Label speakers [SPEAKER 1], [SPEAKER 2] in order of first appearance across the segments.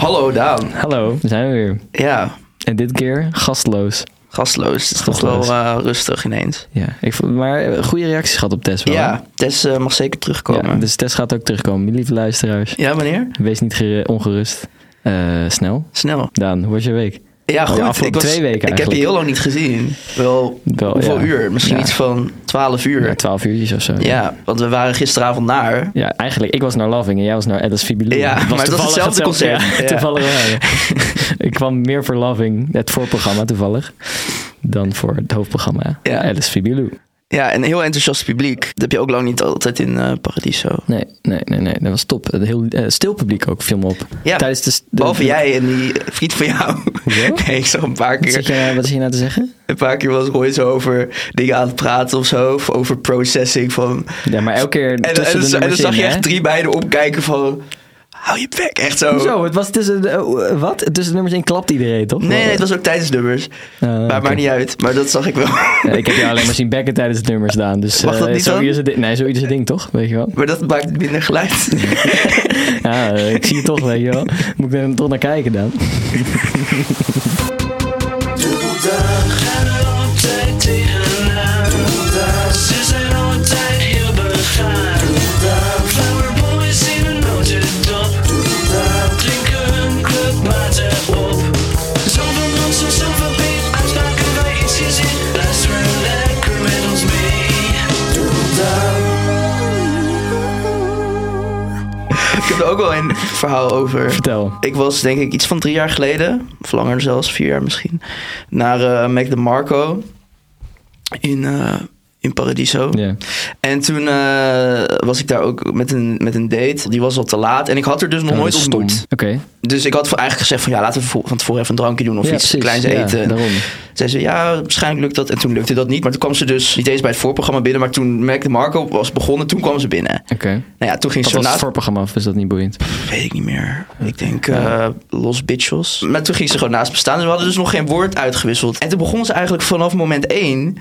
[SPEAKER 1] Hallo Daan.
[SPEAKER 2] Hallo, we zijn we weer.
[SPEAKER 1] Ja,
[SPEAKER 2] En dit keer gastloos.
[SPEAKER 1] gastloos. Het is toch wel
[SPEAKER 2] Gastloos.
[SPEAKER 1] eh, rustig ineens.
[SPEAKER 2] Ja, ik vond, maar eh, goede reacties gehad op Tess wel. hè?
[SPEAKER 1] Ja, Tess eh, mag zeker terugkomen. Ja,
[SPEAKER 2] Ja, dus Tess gaat ook terugkomen. Lieve luisteraars,
[SPEAKER 1] meneer?
[SPEAKER 2] wees niet gere- ongerust. Eh, snel.
[SPEAKER 1] Snel.
[SPEAKER 2] Daan, hoe was je week?
[SPEAKER 1] Ja, goed.
[SPEAKER 2] afgelopen
[SPEAKER 1] ik, was,
[SPEAKER 2] twee weken
[SPEAKER 1] ik heb je
[SPEAKER 2] eigenlijk.
[SPEAKER 1] heel lang niet gezien. Wel,
[SPEAKER 2] Wel,
[SPEAKER 1] hoeveel
[SPEAKER 2] ja.
[SPEAKER 1] uur? Misschien
[SPEAKER 2] Ja.
[SPEAKER 1] iets van 12 uur.
[SPEAKER 2] Ja,
[SPEAKER 1] Ja,
[SPEAKER 2] 12 uurtjes of zo.
[SPEAKER 1] want we waren gisteravond naar.
[SPEAKER 2] Ja, eigenlijk, ik was naar Loving en jij was naar Alice Fibilou.
[SPEAKER 1] Ja, maar het was
[SPEAKER 2] toevallig
[SPEAKER 1] hetzelfde concert.
[SPEAKER 2] Ja,
[SPEAKER 1] Ja.
[SPEAKER 2] toevallig wel, ja. ik kwam meer voor Loving, het voorprogramma toevallig, dan voor het hoofdprogramma
[SPEAKER 1] Ja.
[SPEAKER 2] Alice Fibilou.
[SPEAKER 1] Ja, en een heel enthousiast publiek. Dat heb je ook lang niet altijd in eh Paradiso.
[SPEAKER 2] Nee, nee, nee, nee, dat was top. Een heel eh, stil publiek ook, viel me op.
[SPEAKER 1] Ja,
[SPEAKER 2] Tijdens de, de-
[SPEAKER 1] Behalve jij en die vriend van jou.
[SPEAKER 2] Hoezo?
[SPEAKER 1] Nee, ik zag een paar
[SPEAKER 2] Wat, zit
[SPEAKER 1] keer,
[SPEAKER 2] je nou- wat is hier nou te zeggen?
[SPEAKER 1] een paar keer was Roy zo over dingen aan het praten of zo. Of over processing van
[SPEAKER 2] Ja, maar elke keer
[SPEAKER 1] En, en,
[SPEAKER 2] tussen de
[SPEAKER 1] en dan
[SPEAKER 2] nummers
[SPEAKER 1] zag
[SPEAKER 2] in,
[SPEAKER 1] je echt
[SPEAKER 2] hè?
[SPEAKER 1] drie beiden opkijken van... Hou je bek, echt zo.
[SPEAKER 2] Hoezo? Het was tussen de, oh, wat? Tussen de nummers in klapt iedereen, toch?
[SPEAKER 1] Nee, nee, het was ook tijdens nummers.
[SPEAKER 2] Eh,
[SPEAKER 1] maar
[SPEAKER 2] oké.
[SPEAKER 1] maakt niet uit. Maar dat zag ik wel.
[SPEAKER 2] Ja, ik heb jou alleen maar zien bekken tijdens het nummer staan. Dus
[SPEAKER 1] Mag
[SPEAKER 2] eh,
[SPEAKER 1] dat niet
[SPEAKER 2] zo
[SPEAKER 1] dan?
[SPEAKER 2] ieder zijn ding. Nee, zo ieder zijn ding, toch? Weet je wel?
[SPEAKER 1] maar dat maakt minder geluid.
[SPEAKER 2] Ja, eh, ik zie het toch, weet je wel. Moet ik er toch naar kijken dan?
[SPEAKER 1] ik heb er ook wel een verhaal over.
[SPEAKER 2] Vertel.
[SPEAKER 1] Ik was denk ik iets van drie jaar geleden, of langer zelfs, vier jaar misschien, naar eh Mac DeMarco in, eh, in Paradiso.
[SPEAKER 2] Ja. Oh,
[SPEAKER 1] En toen eh, was ik daar ook met een, met een date. Die was al te laat en ik had er dus nog
[SPEAKER 2] Oh, dat
[SPEAKER 1] nooit
[SPEAKER 2] is
[SPEAKER 1] ontmoet.
[SPEAKER 2] stom. Oké.
[SPEAKER 1] Dus ik had voor- eigenlijk gezegd van ja, laten we voor- van tevoren even een drankje doen of
[SPEAKER 2] Ja,
[SPEAKER 1] iets
[SPEAKER 2] precies.
[SPEAKER 1] kleins
[SPEAKER 2] Ja,
[SPEAKER 1] eten.
[SPEAKER 2] daarom.
[SPEAKER 1] Zei ze, ja, waarschijnlijk lukt dat. En toen lukte dat niet. Maar toen kwam ze dus niet eens bij het voorprogramma binnen. Maar toen Mac de Marco was begonnen, toen kwam ze binnen.
[SPEAKER 2] Oké.
[SPEAKER 1] Nou ja, toen ging
[SPEAKER 2] Wat
[SPEAKER 1] ze
[SPEAKER 2] was
[SPEAKER 1] na...
[SPEAKER 2] het voorprogramma of is dat niet boeiend?
[SPEAKER 1] Weet ik niet meer. Ik denk eh, Los Bitchos. Maar toen ging ze gewoon naast me staan. En we hadden dus nog geen woord uitgewisseld. En toen begon ze eigenlijk vanaf moment één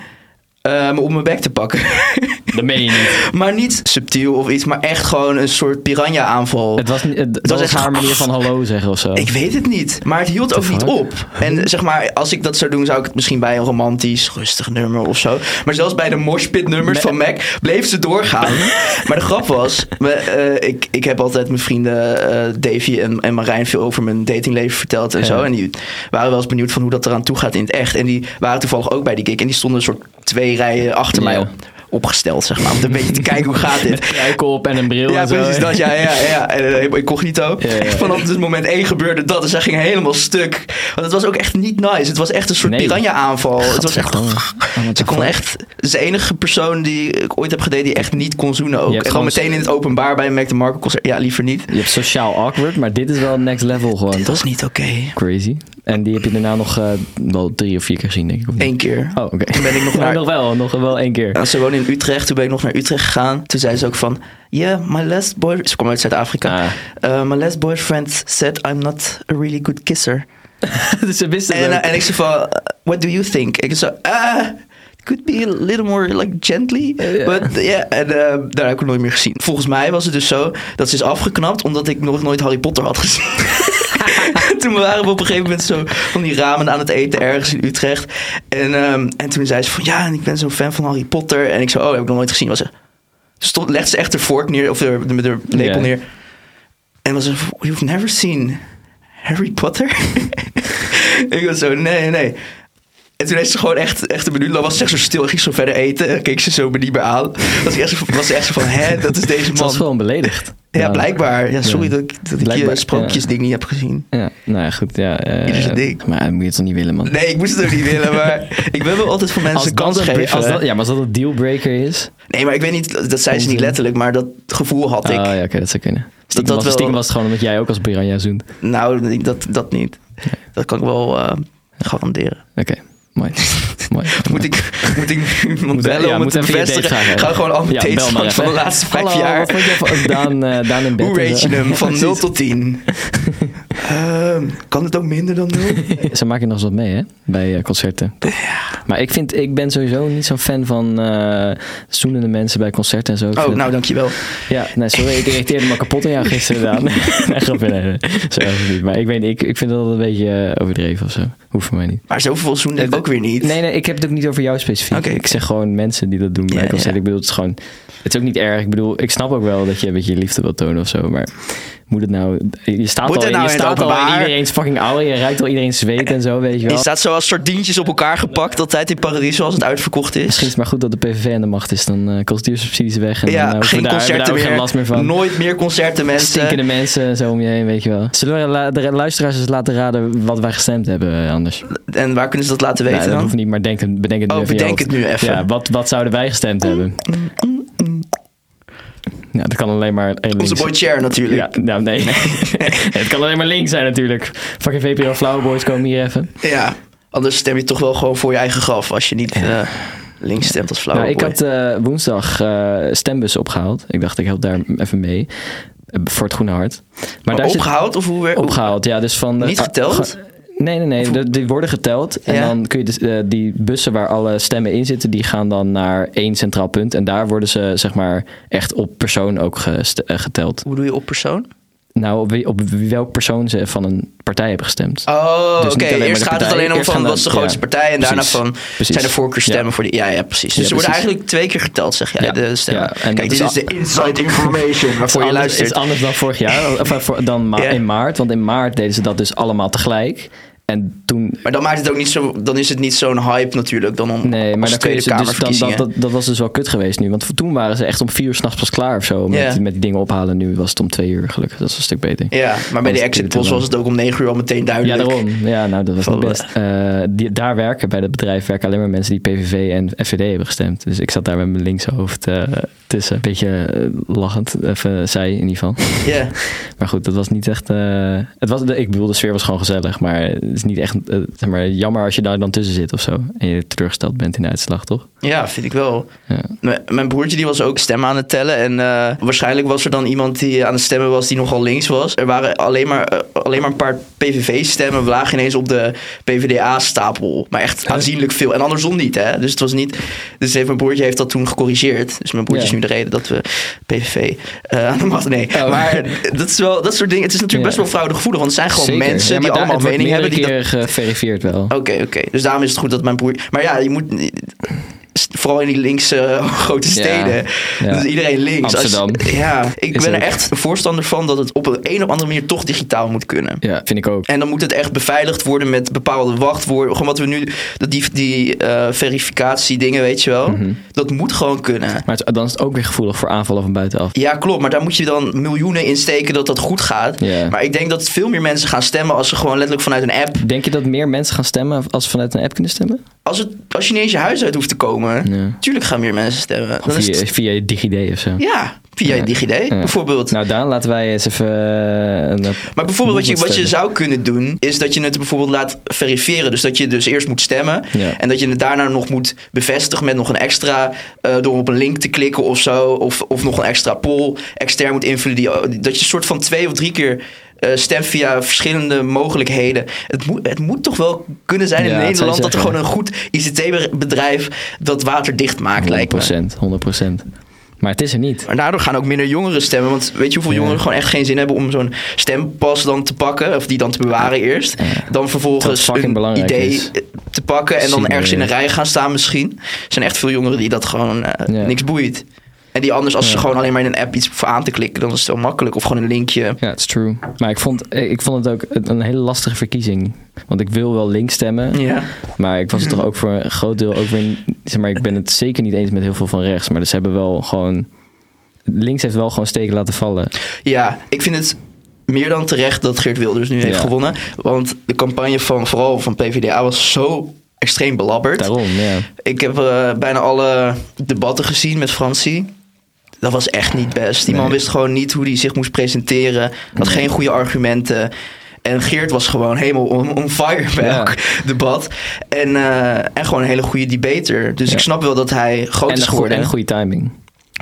[SPEAKER 1] eh, me op mijn bek te pakken.
[SPEAKER 2] Dat meen je niet.
[SPEAKER 1] maar niet subtiel of iets, maar echt gewoon een soort piranha aanval.
[SPEAKER 2] Het was, niet, het, dat
[SPEAKER 1] was
[SPEAKER 2] was
[SPEAKER 1] echt-
[SPEAKER 2] haar manier van hallo zeggen of zo.
[SPEAKER 1] Ik weet het niet. Maar het hield ook niet
[SPEAKER 2] fuck? Hm?
[SPEAKER 1] op. En zeg maar, als ik dat zou doen, zou ik het misschien bij een romantisch, rustig nummer of zo. Maar zelfs bij de moshpit nummers van Mac bleef ze doorgaan. maar de grap was, we, eh, ik, ik heb altijd mijn vrienden eh, Davy en, en Marijn veel over mijn datingleven verteld en
[SPEAKER 2] Ja.
[SPEAKER 1] zo. En die waren wel eens benieuwd van hoe dat eraan toe gaat in het echt. En die waren toevallig ook bij die gig. En die stonden een soort twee rijen achter mij
[SPEAKER 2] Ja.
[SPEAKER 1] op, opgesteld, zeg maar. Om een beetje te kijken hoe gaat dit.
[SPEAKER 2] Kijk op en een bril
[SPEAKER 1] Ja,
[SPEAKER 2] en zo.
[SPEAKER 1] precies dat. Ja, ja, ja. En eh, incognito.
[SPEAKER 2] Ja, ja, ja.
[SPEAKER 1] Vanaf het moment één gebeurde dat. Dus zij ging helemaal stuk. Want het was ook echt niet nice. Het was echt een soort
[SPEAKER 2] Nee.
[SPEAKER 1] piranha aanval. Het was echt...
[SPEAKER 2] Gadverdamme. Oh, what
[SPEAKER 1] Ze
[SPEAKER 2] the
[SPEAKER 1] kon
[SPEAKER 2] fuck?
[SPEAKER 1] echt... Ze is de enige persoon die ik ooit heb gedate die echt niet kon zoenen ook.
[SPEAKER 2] Je
[SPEAKER 1] En
[SPEAKER 2] hebt
[SPEAKER 1] gewoon
[SPEAKER 2] gewoon-
[SPEAKER 1] meteen in het openbaar bij een Mac de Marco concert. Ja, liever niet.
[SPEAKER 2] Je hebt sociaal awkward, maar dit is wel next level gewoon.
[SPEAKER 1] Dit
[SPEAKER 2] toch?
[SPEAKER 1] was niet oké.
[SPEAKER 2] Crazy. En die heb je daarna nog eh, wel drie of vier keer gezien, denk ik. of niet?
[SPEAKER 1] Eén keer.
[SPEAKER 2] Oh, oké.
[SPEAKER 1] Toen ben ik nog
[SPEAKER 2] Maar
[SPEAKER 1] naar-
[SPEAKER 2] nog wel, nog wel één keer.
[SPEAKER 1] Ja, ze woonde in Utrecht. Toen ben ik nog naar Utrecht gegaan. Toen zei ze ook van... Yeah, my last boy... Ze kwam uit Zuid-Afrika.
[SPEAKER 2] Ah.
[SPEAKER 1] "Uh, my last boyfriend said I'm not a really good kisser.
[SPEAKER 2] dus ze wisten
[SPEAKER 1] En,
[SPEAKER 2] het ook.
[SPEAKER 1] eh, en ik zei van, uh, what do you think? Ik zei, ah, it could be a little more like gently.
[SPEAKER 2] Eh, ja.
[SPEAKER 1] But yeah, en eh, daar heb ik hem nooit meer gezien. Volgens mij was het dus zo dat ze is afgeknapt omdat ik nog nooit Harry Potter had gezien. toen waren we op een gegeven moment zo van die ramen aan het eten ergens in Utrecht. En, ehm, en toen zei ze van, ja, en ik ben zo'n fan van Harry Potter. En ik zei, oh, heb ik nog nooit gezien. Was ze, stond, legde ze echt de vork neer, of de, de, de lepel
[SPEAKER 2] Ja.
[SPEAKER 1] neer. En was er, you've never seen Harry Potter? ik was zo, nee, nee. En toen heeft ze gewoon echt, echt een minuut lang, was ze echt zo stil, ging ze zo verder eten, en keek ze zo me niet meer aan. Was, ik echt, zo- was ze echt zo van, hè, dat is deze
[SPEAKER 2] Ze was
[SPEAKER 1] man.
[SPEAKER 2] gewoon beledigd.
[SPEAKER 1] Ja, blijkbaar. Ja, sorry
[SPEAKER 2] Ja.
[SPEAKER 1] dat ik, dat ik je
[SPEAKER 2] Blijkbaar,
[SPEAKER 1] sprookjesding niet heb gezien.
[SPEAKER 2] Ja, nou ja, goed. Ja, eh,
[SPEAKER 1] Ieder zijn ding.
[SPEAKER 2] Maar eh, moet je het toch niet willen, man.
[SPEAKER 1] Nee, ik moest het ook niet willen, maar ik ben wel altijd voor mensen
[SPEAKER 2] dat
[SPEAKER 1] kans
[SPEAKER 2] een-
[SPEAKER 1] geven.
[SPEAKER 2] als dat, ja, maar als dat een dealbreaker is...
[SPEAKER 1] Nee, maar ik weet niet, dat zei ze niet
[SPEAKER 2] Onzin.
[SPEAKER 1] letterlijk, maar dat gevoel had
[SPEAKER 2] Oh
[SPEAKER 1] ik.
[SPEAKER 2] ja, oké, dat zou kunnen. Stiekem,
[SPEAKER 1] dat
[SPEAKER 2] was,
[SPEAKER 1] wel-
[SPEAKER 2] stiekem was het gewoon omdat jij ook als piranha zoent.
[SPEAKER 1] Nou, dat, dat niet. Dat kan ik wel eh, garanderen.
[SPEAKER 2] Oké, mooi. mooi.
[SPEAKER 1] Moet ik, moet ik nu iemand bellen
[SPEAKER 2] ja,
[SPEAKER 1] om het te
[SPEAKER 2] even je
[SPEAKER 1] bevestigen?
[SPEAKER 2] date vragen.
[SPEAKER 1] Ga gewoon al mijn
[SPEAKER 2] Ja,
[SPEAKER 1] dates
[SPEAKER 2] bel maar
[SPEAKER 1] van,
[SPEAKER 2] even.
[SPEAKER 1] van de laatste vijf
[SPEAKER 2] Hallo,
[SPEAKER 1] jaar.
[SPEAKER 2] wat vond jij van Daan, eh, Daan in bed?
[SPEAKER 1] Hoe
[SPEAKER 2] en
[SPEAKER 1] rate
[SPEAKER 2] zo?
[SPEAKER 1] je hem? Van
[SPEAKER 2] Precies.
[SPEAKER 1] 0 tot 10. Ehm, kan het ook minder dan 0?
[SPEAKER 2] Ze maken nog eens wat mee, hè? Bij eh, concerten.
[SPEAKER 1] ja.
[SPEAKER 2] Maar ik, vind, ik ben sowieso niet zo'n fan van eh zoenende mensen bij concerten en zo. Ik
[SPEAKER 1] Oh,
[SPEAKER 2] vind-
[SPEAKER 1] nou dankjewel.
[SPEAKER 2] Ja, nee, sorry, ik irriteerde me kapot aan jou gisteren. Daan. nee, grapje, nee, nee. Zo is het niet. Maar ik weet niet, ik, ik vind dat een beetje eh, overdreven of zo. Hoeft voor mij niet.
[SPEAKER 1] Maar zoveel zoende ik ook weer niet.
[SPEAKER 2] Nee, nee, ik heb het ook niet over jou specifiek.
[SPEAKER 1] Oké.
[SPEAKER 2] Ik zeg gewoon mensen die dat doen bij
[SPEAKER 1] Ja,
[SPEAKER 2] concerten.
[SPEAKER 1] ja.
[SPEAKER 2] Ik bedoel, het is gewoon... Het is ook niet erg. Ik bedoel, ik snap ook wel dat je een beetje liefde wilt tonen of zo, maar... Moet het nou... Je staat,
[SPEAKER 1] Moet
[SPEAKER 2] al,
[SPEAKER 1] het nou
[SPEAKER 2] je
[SPEAKER 1] in het
[SPEAKER 2] staat al in
[SPEAKER 1] openbaar?
[SPEAKER 2] iedereen's fucking ouwe. Je ruikt al iedereen's zweet en zo, weet je wel.
[SPEAKER 1] Je staat zo als sardientjes op elkaar gepakt altijd in Paradiso als het uitverkocht is.
[SPEAKER 2] Misschien is het maar goed dat de PVV aan de macht is. Dan eh kost duursubsidies weg. En dan
[SPEAKER 1] ja,
[SPEAKER 2] eh, hoeven
[SPEAKER 1] geen
[SPEAKER 2] we daar, hebben we daar
[SPEAKER 1] concerten
[SPEAKER 2] ook
[SPEAKER 1] meer.
[SPEAKER 2] geen last meer van.
[SPEAKER 1] Nooit meer concerten, mensen.
[SPEAKER 2] Stinkende mensen en zo om je heen, weet je wel. Zullen we la- de luisteraars eens laten raden wat wij gestemd hebben eh, anders?
[SPEAKER 1] En waar kunnen ze dat laten weten
[SPEAKER 2] nou, dat
[SPEAKER 1] dan?
[SPEAKER 2] hoeft niet, maar denk, het- bedenk het nu
[SPEAKER 1] Oh,
[SPEAKER 2] even in je
[SPEAKER 1] bedenk
[SPEAKER 2] hoofd.
[SPEAKER 1] het nu even. Mm,
[SPEAKER 2] Ja, wat, wat zouden wij gestemd hebben? Ja, dat kan alleen maar één
[SPEAKER 1] Onze
[SPEAKER 2] links.
[SPEAKER 1] boy Cher natuurlijk.
[SPEAKER 2] Ja, nou nee. het kan alleen maar links zijn natuurlijk. Fucking VPRO Flauwboys komen hier even.
[SPEAKER 1] Ja, anders stem je toch wel gewoon voor je eigen graf als je niet eh, links stemt als flauw.
[SPEAKER 2] Nou, ik had eh, woensdag eh, stembussen opgehaald. Ik dacht, ik help daar even mee. Eh, Voor het Groene Hart. Maar,
[SPEAKER 1] maar
[SPEAKER 2] daar zit
[SPEAKER 1] opgehaald of hoe weer? hoe-
[SPEAKER 2] opgehaald, ja. Dus van, eh,
[SPEAKER 1] Niet geteld?
[SPEAKER 2] Nee, nee, nee. de- die worden geteld. En
[SPEAKER 1] Ja.
[SPEAKER 2] dan kun je dus, eh, die bussen waar alle stemmen in zitten, die gaan dan naar één centraal punt. En daar worden ze, zeg maar, echt op persoon ook gest- eh, geteld.
[SPEAKER 1] Hoe doe je op persoon?
[SPEAKER 2] Nou, op, wie- op wie- welk persoon ze van een partij hebben gestemd.
[SPEAKER 1] Oh,
[SPEAKER 2] Dus niet
[SPEAKER 1] oké.
[SPEAKER 2] alleen maar
[SPEAKER 1] Eerst
[SPEAKER 2] de
[SPEAKER 1] gaat het
[SPEAKER 2] partij,
[SPEAKER 1] alleen om
[SPEAKER 2] eerst
[SPEAKER 1] van
[SPEAKER 2] gaan
[SPEAKER 1] wat is de
[SPEAKER 2] dan-
[SPEAKER 1] grootste
[SPEAKER 2] ja.
[SPEAKER 1] partij en daarna
[SPEAKER 2] Precies.
[SPEAKER 1] van
[SPEAKER 2] Precies.
[SPEAKER 1] zijn de voorkeurstemmen voor die. Ja, ja, precies. Dus
[SPEAKER 2] Ja,
[SPEAKER 1] ze worden
[SPEAKER 2] precies.
[SPEAKER 1] eigenlijk twee keer geteld, zeg jij.
[SPEAKER 2] Ja,
[SPEAKER 1] de stemmen.
[SPEAKER 2] ja, en dat
[SPEAKER 1] Kijk, dit
[SPEAKER 2] is
[SPEAKER 1] is de
[SPEAKER 2] al-
[SPEAKER 1] inside information waarvoor je
[SPEAKER 2] Het is anders-
[SPEAKER 1] luistert.
[SPEAKER 2] is anders dan vorig jaar, of eh, voor- dan ma-
[SPEAKER 1] Ja.
[SPEAKER 2] in maart. Want in maart deden ze dat dus allemaal tegelijk. En toen...
[SPEAKER 1] Maar dan maakt het ook niet zo, dan is het niet zo'n hype natuurlijk dan om
[SPEAKER 2] Nee, maar
[SPEAKER 1] als
[SPEAKER 2] dan kun je
[SPEAKER 1] Tweede
[SPEAKER 2] ze dus, dan,
[SPEAKER 1] Kamerverkiezingen.
[SPEAKER 2] dat, dat, dat was dus wel kut geweest nu. Want toen waren ze echt om vier uur s'nachts pas klaar of zo. Met,
[SPEAKER 1] Ja.
[SPEAKER 2] met die dingen ophalen. Nu was het om twee uur gelukkig. Dat is een stuk beter.
[SPEAKER 1] ja, maar bij de
[SPEAKER 2] duurt
[SPEAKER 1] exit
[SPEAKER 2] het
[SPEAKER 1] polls
[SPEAKER 2] wel.
[SPEAKER 1] was het ook om negen uur al meteen
[SPEAKER 2] Ja,
[SPEAKER 1] duidelijk.
[SPEAKER 2] daarom. Ja, nou, dat was
[SPEAKER 1] Van,
[SPEAKER 2] het best. Eh, die, daar werken, bij dat bedrijf, werken alleen maar mensen die PVV en FVD hebben gestemd. Dus ik zat daar met mijn linkse hoofd eh, tussen. Beetje eh, lachend, even zij in ieder geval.
[SPEAKER 1] Ja.
[SPEAKER 2] Maar goed, dat was niet echt... eh, het was, ik bedoel, de sfeer was gewoon gezellig. Maar het is niet echt... eh, zeg maar, jammer als je daar dan tussen zit of zo. En je teleurgesteld bent in de uitslag, toch?
[SPEAKER 1] Ja, vind ik wel.
[SPEAKER 2] Ja.
[SPEAKER 1] M- Mijn broertje die was ook stemmen aan het tellen. En eh, waarschijnlijk was er dan iemand die aan het stemmen was die nogal links was. Er waren alleen maar, eh, alleen maar een paar PVV-stemmen. We lagen ineens op de PVDA-stapel. Maar echt aanzienlijk veel. En andersom niet, hè. Dus het was niet... Dus heeft, mijn broertje heeft dat toen gecorrigeerd. Dus mijn broertje
[SPEAKER 2] Ja.
[SPEAKER 1] is nu de reden dat we PVV eh, aan de macht... Nee,
[SPEAKER 2] Oh.
[SPEAKER 1] maar dat, is wel, dat soort dingen... Het is natuurlijk
[SPEAKER 2] Ja.
[SPEAKER 1] best wel fraudegevoelig. Want het zijn gewoon
[SPEAKER 2] Zeker.
[SPEAKER 1] mensen
[SPEAKER 2] Ja, maar
[SPEAKER 1] die
[SPEAKER 2] daar-
[SPEAKER 1] allemaal
[SPEAKER 2] het wordt
[SPEAKER 1] mening hebben. Die dat
[SPEAKER 2] meerdere keren geverifieerd wel.
[SPEAKER 1] Oké, oké. Dus daarom is het goed dat mijn broer. Maar ja, je moet. Vooral in die linkse eh, grote steden.
[SPEAKER 2] ja.
[SPEAKER 1] Dus iedereen links. Als-
[SPEAKER 2] Amsterdam.
[SPEAKER 1] ja, ik
[SPEAKER 2] Is
[SPEAKER 1] ben er
[SPEAKER 2] ook.
[SPEAKER 1] echt een voorstander van dat het op een, een of andere manier toch digitaal moet kunnen.
[SPEAKER 2] Ja, vind ik ook.
[SPEAKER 1] En dan moet het echt beveiligd worden met bepaalde wachtwoorden. Gewoon wat we nu. Dat die, die eh, verificatiedingen, weet je wel.
[SPEAKER 2] Mhm.
[SPEAKER 1] Dat moet gewoon kunnen.
[SPEAKER 2] Maar het- dan is het ook weer gevoelig voor aanvallen van buitenaf.
[SPEAKER 1] Ja, klopt. Maar daar moet je dan miljoenen in steken dat dat goed gaat.
[SPEAKER 2] Ja.
[SPEAKER 1] Maar ik denk dat veel meer mensen gaan stemmen als ze gewoon letterlijk vanuit een app.
[SPEAKER 2] Denk je dat meer mensen gaan stemmen als ze vanuit een app kunnen stemmen?
[SPEAKER 1] Als, het, als je niet eens je huis uit hoeft te komen.
[SPEAKER 2] Ja.
[SPEAKER 1] Tuurlijk gaan meer mensen stemmen. Dan is het
[SPEAKER 2] Via, via DigiD of zo.
[SPEAKER 1] Ja, via
[SPEAKER 2] Ja.
[SPEAKER 1] DigiD
[SPEAKER 2] Ja.
[SPEAKER 1] bijvoorbeeld.
[SPEAKER 2] Nou, Daan, laten wij eens even eh, een... eh,
[SPEAKER 1] maar bijvoorbeeld wat je, wat je
[SPEAKER 2] movement
[SPEAKER 1] zou kunnen doen, is dat je het bijvoorbeeld laat verifiëren. Dus dat je dus eerst moet stemmen.
[SPEAKER 2] Ja.
[SPEAKER 1] En dat je het daarna nog moet bevestigen met nog een extra, eh, door op een link te klikken of zo. Of, of nog een extra poll extern moet invullen. Die, dat je een soort van twee of drie keer eh, stemt via verschillende mogelijkheden. Het moet, het moet toch wel kunnen zijn in
[SPEAKER 2] Ja, dat zou je
[SPEAKER 1] Nederland dat er
[SPEAKER 2] zeggen.
[SPEAKER 1] gewoon een goed ICT-bedrijf dat waterdicht maakt, lijkt me.
[SPEAKER 2] stemmen. 100%, 100%. Maar het is er niet.
[SPEAKER 1] Maar daardoor gaan ook minder jongeren stemmen. Want weet je hoeveel
[SPEAKER 2] Ja.
[SPEAKER 1] jongeren gewoon echt geen zin hebben om zo'n stempas dan te pakken? Of die dan te bewaren eerst. Dan
[SPEAKER 2] Dat
[SPEAKER 1] vervolgens
[SPEAKER 2] fucking
[SPEAKER 1] een
[SPEAKER 2] belangrijk
[SPEAKER 1] idee eh,
[SPEAKER 2] is.
[SPEAKER 1] te pakken en dan
[SPEAKER 2] Zie
[SPEAKER 1] ergens
[SPEAKER 2] je.
[SPEAKER 1] in een rij gaan staan misschien. Er zijn echt veel jongeren die dat gewoon eh,
[SPEAKER 2] Ja.
[SPEAKER 1] niks boeit. En die anders, als ze
[SPEAKER 2] Ja.
[SPEAKER 1] gewoon alleen maar in een app iets voor aan te klikken, dan is het wel makkelijk. Of gewoon een linkje.
[SPEAKER 2] Ja, it's true. Maar ik vond, eh, ik vond het ook een een hele lastige verkiezing. Want ik wil wel links stemmen.
[SPEAKER 1] Ja.
[SPEAKER 2] Maar ik was het toch ook voor een groot deel ook weer... Zeg maar, ik ben het zeker niet eens met heel veel van rechts. Maar dus hebben wel gewoon... Links heeft wel gewoon steken laten vallen.
[SPEAKER 1] Ja, ik vind het meer dan terecht dat Geert Wilders nu heeft
[SPEAKER 2] Ja.
[SPEAKER 1] gewonnen. Want de campagne van vooral van PvdA was zo extreem belabberd.
[SPEAKER 2] Daarom, ja.
[SPEAKER 1] Ik heb eh, bijna alle debatten gezien met Francie. Dat was echt niet best. Die man
[SPEAKER 2] Nee.
[SPEAKER 1] wist gewoon niet hoe hij zich moest presenteren. Had geen goede argumenten. En Geert was gewoon helemaal on, on fire bij
[SPEAKER 2] Ja.
[SPEAKER 1] elk debat. En, eh, en gewoon een hele goede debater. Dus
[SPEAKER 2] Ja.
[SPEAKER 1] ik snap wel dat hij groot
[SPEAKER 2] En
[SPEAKER 1] is
[SPEAKER 2] een, goe-
[SPEAKER 1] geworden.
[SPEAKER 2] en een goede timing.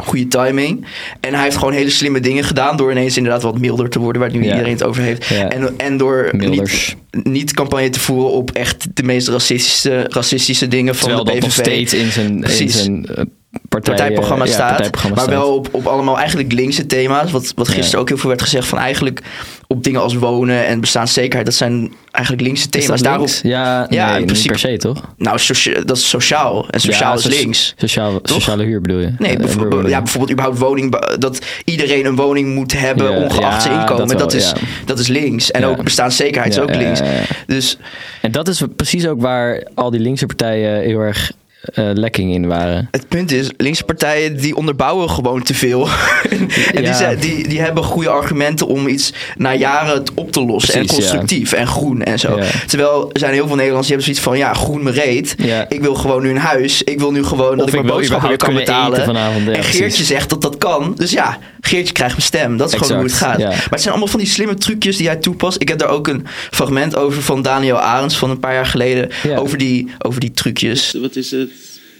[SPEAKER 1] Goede timing. En hij heeft gewoon hele slimme dingen gedaan. Door ineens inderdaad wat milder te worden. Waar nu
[SPEAKER 2] Ja.
[SPEAKER 1] iedereen het over heeft.
[SPEAKER 2] Ja.
[SPEAKER 1] En, en door niet,
[SPEAKER 2] Milders.
[SPEAKER 1] niet campagne te voeren op echt de meest racistische, racistische dingen van
[SPEAKER 2] Terwijl
[SPEAKER 1] de
[SPEAKER 2] dat nog
[SPEAKER 1] PVV.
[SPEAKER 2] steeds in zijn, in
[SPEAKER 1] Precies.
[SPEAKER 2] zijn eh, partij,
[SPEAKER 1] partijprogramma
[SPEAKER 2] eh, ja,
[SPEAKER 1] staat.
[SPEAKER 2] partijprogramma
[SPEAKER 1] maar
[SPEAKER 2] staat.
[SPEAKER 1] wel op, op allemaal eigenlijk linkse thema's. Wat, wat gisteren
[SPEAKER 2] Ja.
[SPEAKER 1] ook heel veel werd gezegd van eigenlijk op dingen als wonen en bestaanszekerheid. Dat zijn eigenlijk linkse
[SPEAKER 2] Is
[SPEAKER 1] thema's.
[SPEAKER 2] dat
[SPEAKER 1] Daarop,
[SPEAKER 2] links? Ja,
[SPEAKER 1] Ja, in
[SPEAKER 2] nee, niet
[SPEAKER 1] principe.
[SPEAKER 2] per se, toch?
[SPEAKER 1] nou, socia- dat is sociaal. En sociaal
[SPEAKER 2] Ja,
[SPEAKER 1] is
[SPEAKER 2] so-
[SPEAKER 1] links.
[SPEAKER 2] Sociaal, sociale huur bedoel je?
[SPEAKER 1] Nee,
[SPEAKER 2] Eh,
[SPEAKER 1] bijvoorbeeld-
[SPEAKER 2] huurwoning.
[SPEAKER 1] ja, bijvoorbeeld überhaupt woning, dat iedereen een woning moet hebben,
[SPEAKER 2] Ja,
[SPEAKER 1] ongeacht zijn
[SPEAKER 2] ja,
[SPEAKER 1] inkomen. Dat,
[SPEAKER 2] dat wel,
[SPEAKER 1] is,
[SPEAKER 2] ja.
[SPEAKER 1] dat is links. En
[SPEAKER 2] Ja.
[SPEAKER 1] ook bestaanszekerheid
[SPEAKER 2] Ja,
[SPEAKER 1] is ook
[SPEAKER 2] ja,
[SPEAKER 1] links.
[SPEAKER 2] ja, ja.
[SPEAKER 1] Dus
[SPEAKER 2] En dat is precies ook waar al die linkse partijen heel erg eh, lekking in waren.
[SPEAKER 1] Het punt is, linkse partijen die onderbouwen gewoon te veel. en die,
[SPEAKER 2] Ja.
[SPEAKER 1] zijn- die, die hebben goede argumenten om iets na jaren het op te lossen. en
[SPEAKER 2] Precies, ja.
[SPEAKER 1] constructief en groen en zo.
[SPEAKER 2] Ja.
[SPEAKER 1] Terwijl er zijn heel veel Nederlanders die hebben zoiets van... ja, groen me reet.
[SPEAKER 2] Ja.
[SPEAKER 1] Ik wil gewoon nu een huis. Ik wil nu gewoon dat ik
[SPEAKER 2] ik
[SPEAKER 1] mijn
[SPEAKER 2] wil
[SPEAKER 1] boodschappen weer
[SPEAKER 2] überhaupt
[SPEAKER 1] kan
[SPEAKER 2] kunnen
[SPEAKER 1] betalen.
[SPEAKER 2] eten vanavond, ja,
[SPEAKER 1] en Geertje
[SPEAKER 2] precies.
[SPEAKER 1] zegt dat dat kan. Dus ja, Geertje krijgt mijn stem. Dat is gewoon hoe het
[SPEAKER 2] Exact,
[SPEAKER 1] gaat.
[SPEAKER 2] ja.
[SPEAKER 1] Maar het zijn allemaal van die slimme trucjes die hij toepast. Ik heb daar ook een fragment over van Daniel Arends van een paar jaar geleden.
[SPEAKER 2] Ja.
[SPEAKER 1] Over, die, over die trucjes.
[SPEAKER 3] Wat is het?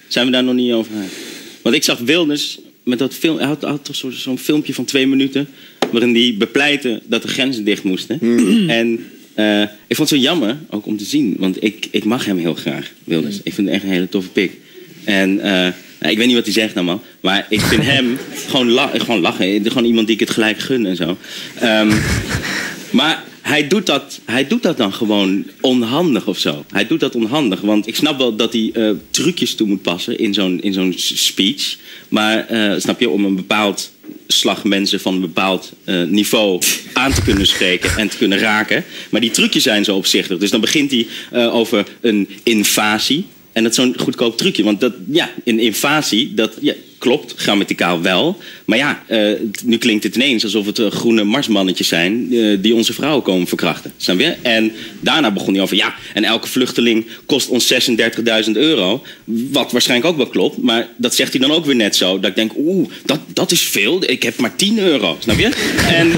[SPEAKER 3] Zijn we daar nog niet over uit? Want ik zag Wilders met dat film. Hij had, had toch zo- zo'n filmpje van twee minuten. waarin hij bepleitte dat de grenzen dicht moesten. En eh, ik vond het zo jammer ook om te zien. Want ik, ik mag hem heel graag, Wilders. Ik vind hem echt een hele toffe pik. En eh, nou, ik weet niet wat hij zegt nou man. Maar ik vind hem gewoon, la- gewoon lachen. Gewoon iemand die ik het gelijk gun en zo. Ehm, maar hij doet, dat, hij doet dat dan gewoon onhandig of zo. Hij doet dat onhandig. Want ik snap wel dat hij eh, trucjes toe moet passen in zo'n, in zo'n s- speech. Maar eh, snap je, om een bepaald slag mensen van een bepaald eh, niveau aan te kunnen spreken en te kunnen raken. Maar die trucjes zijn zo opzichtig. Dus dan begint hij eh, over een invasie. En dat is zo'n goedkoop trucje. Want dat, ja, een invasie, dat ja, klopt grammaticaal wel. Maar ja, eh, t- nu klinkt het ineens alsof het eh, groene marsmannetjes zijn... eh, die onze vrouwen komen verkrachten. Snap je? En daarna begon hij over... ja, en elke vluchteling kost ons 36.000 euro. Wat waarschijnlijk ook wel klopt. Maar dat zegt hij dan ook weer net zo. Dat ik denk, oeh, dat, dat is veel. Ik heb maar 10 euro. Snap je? En...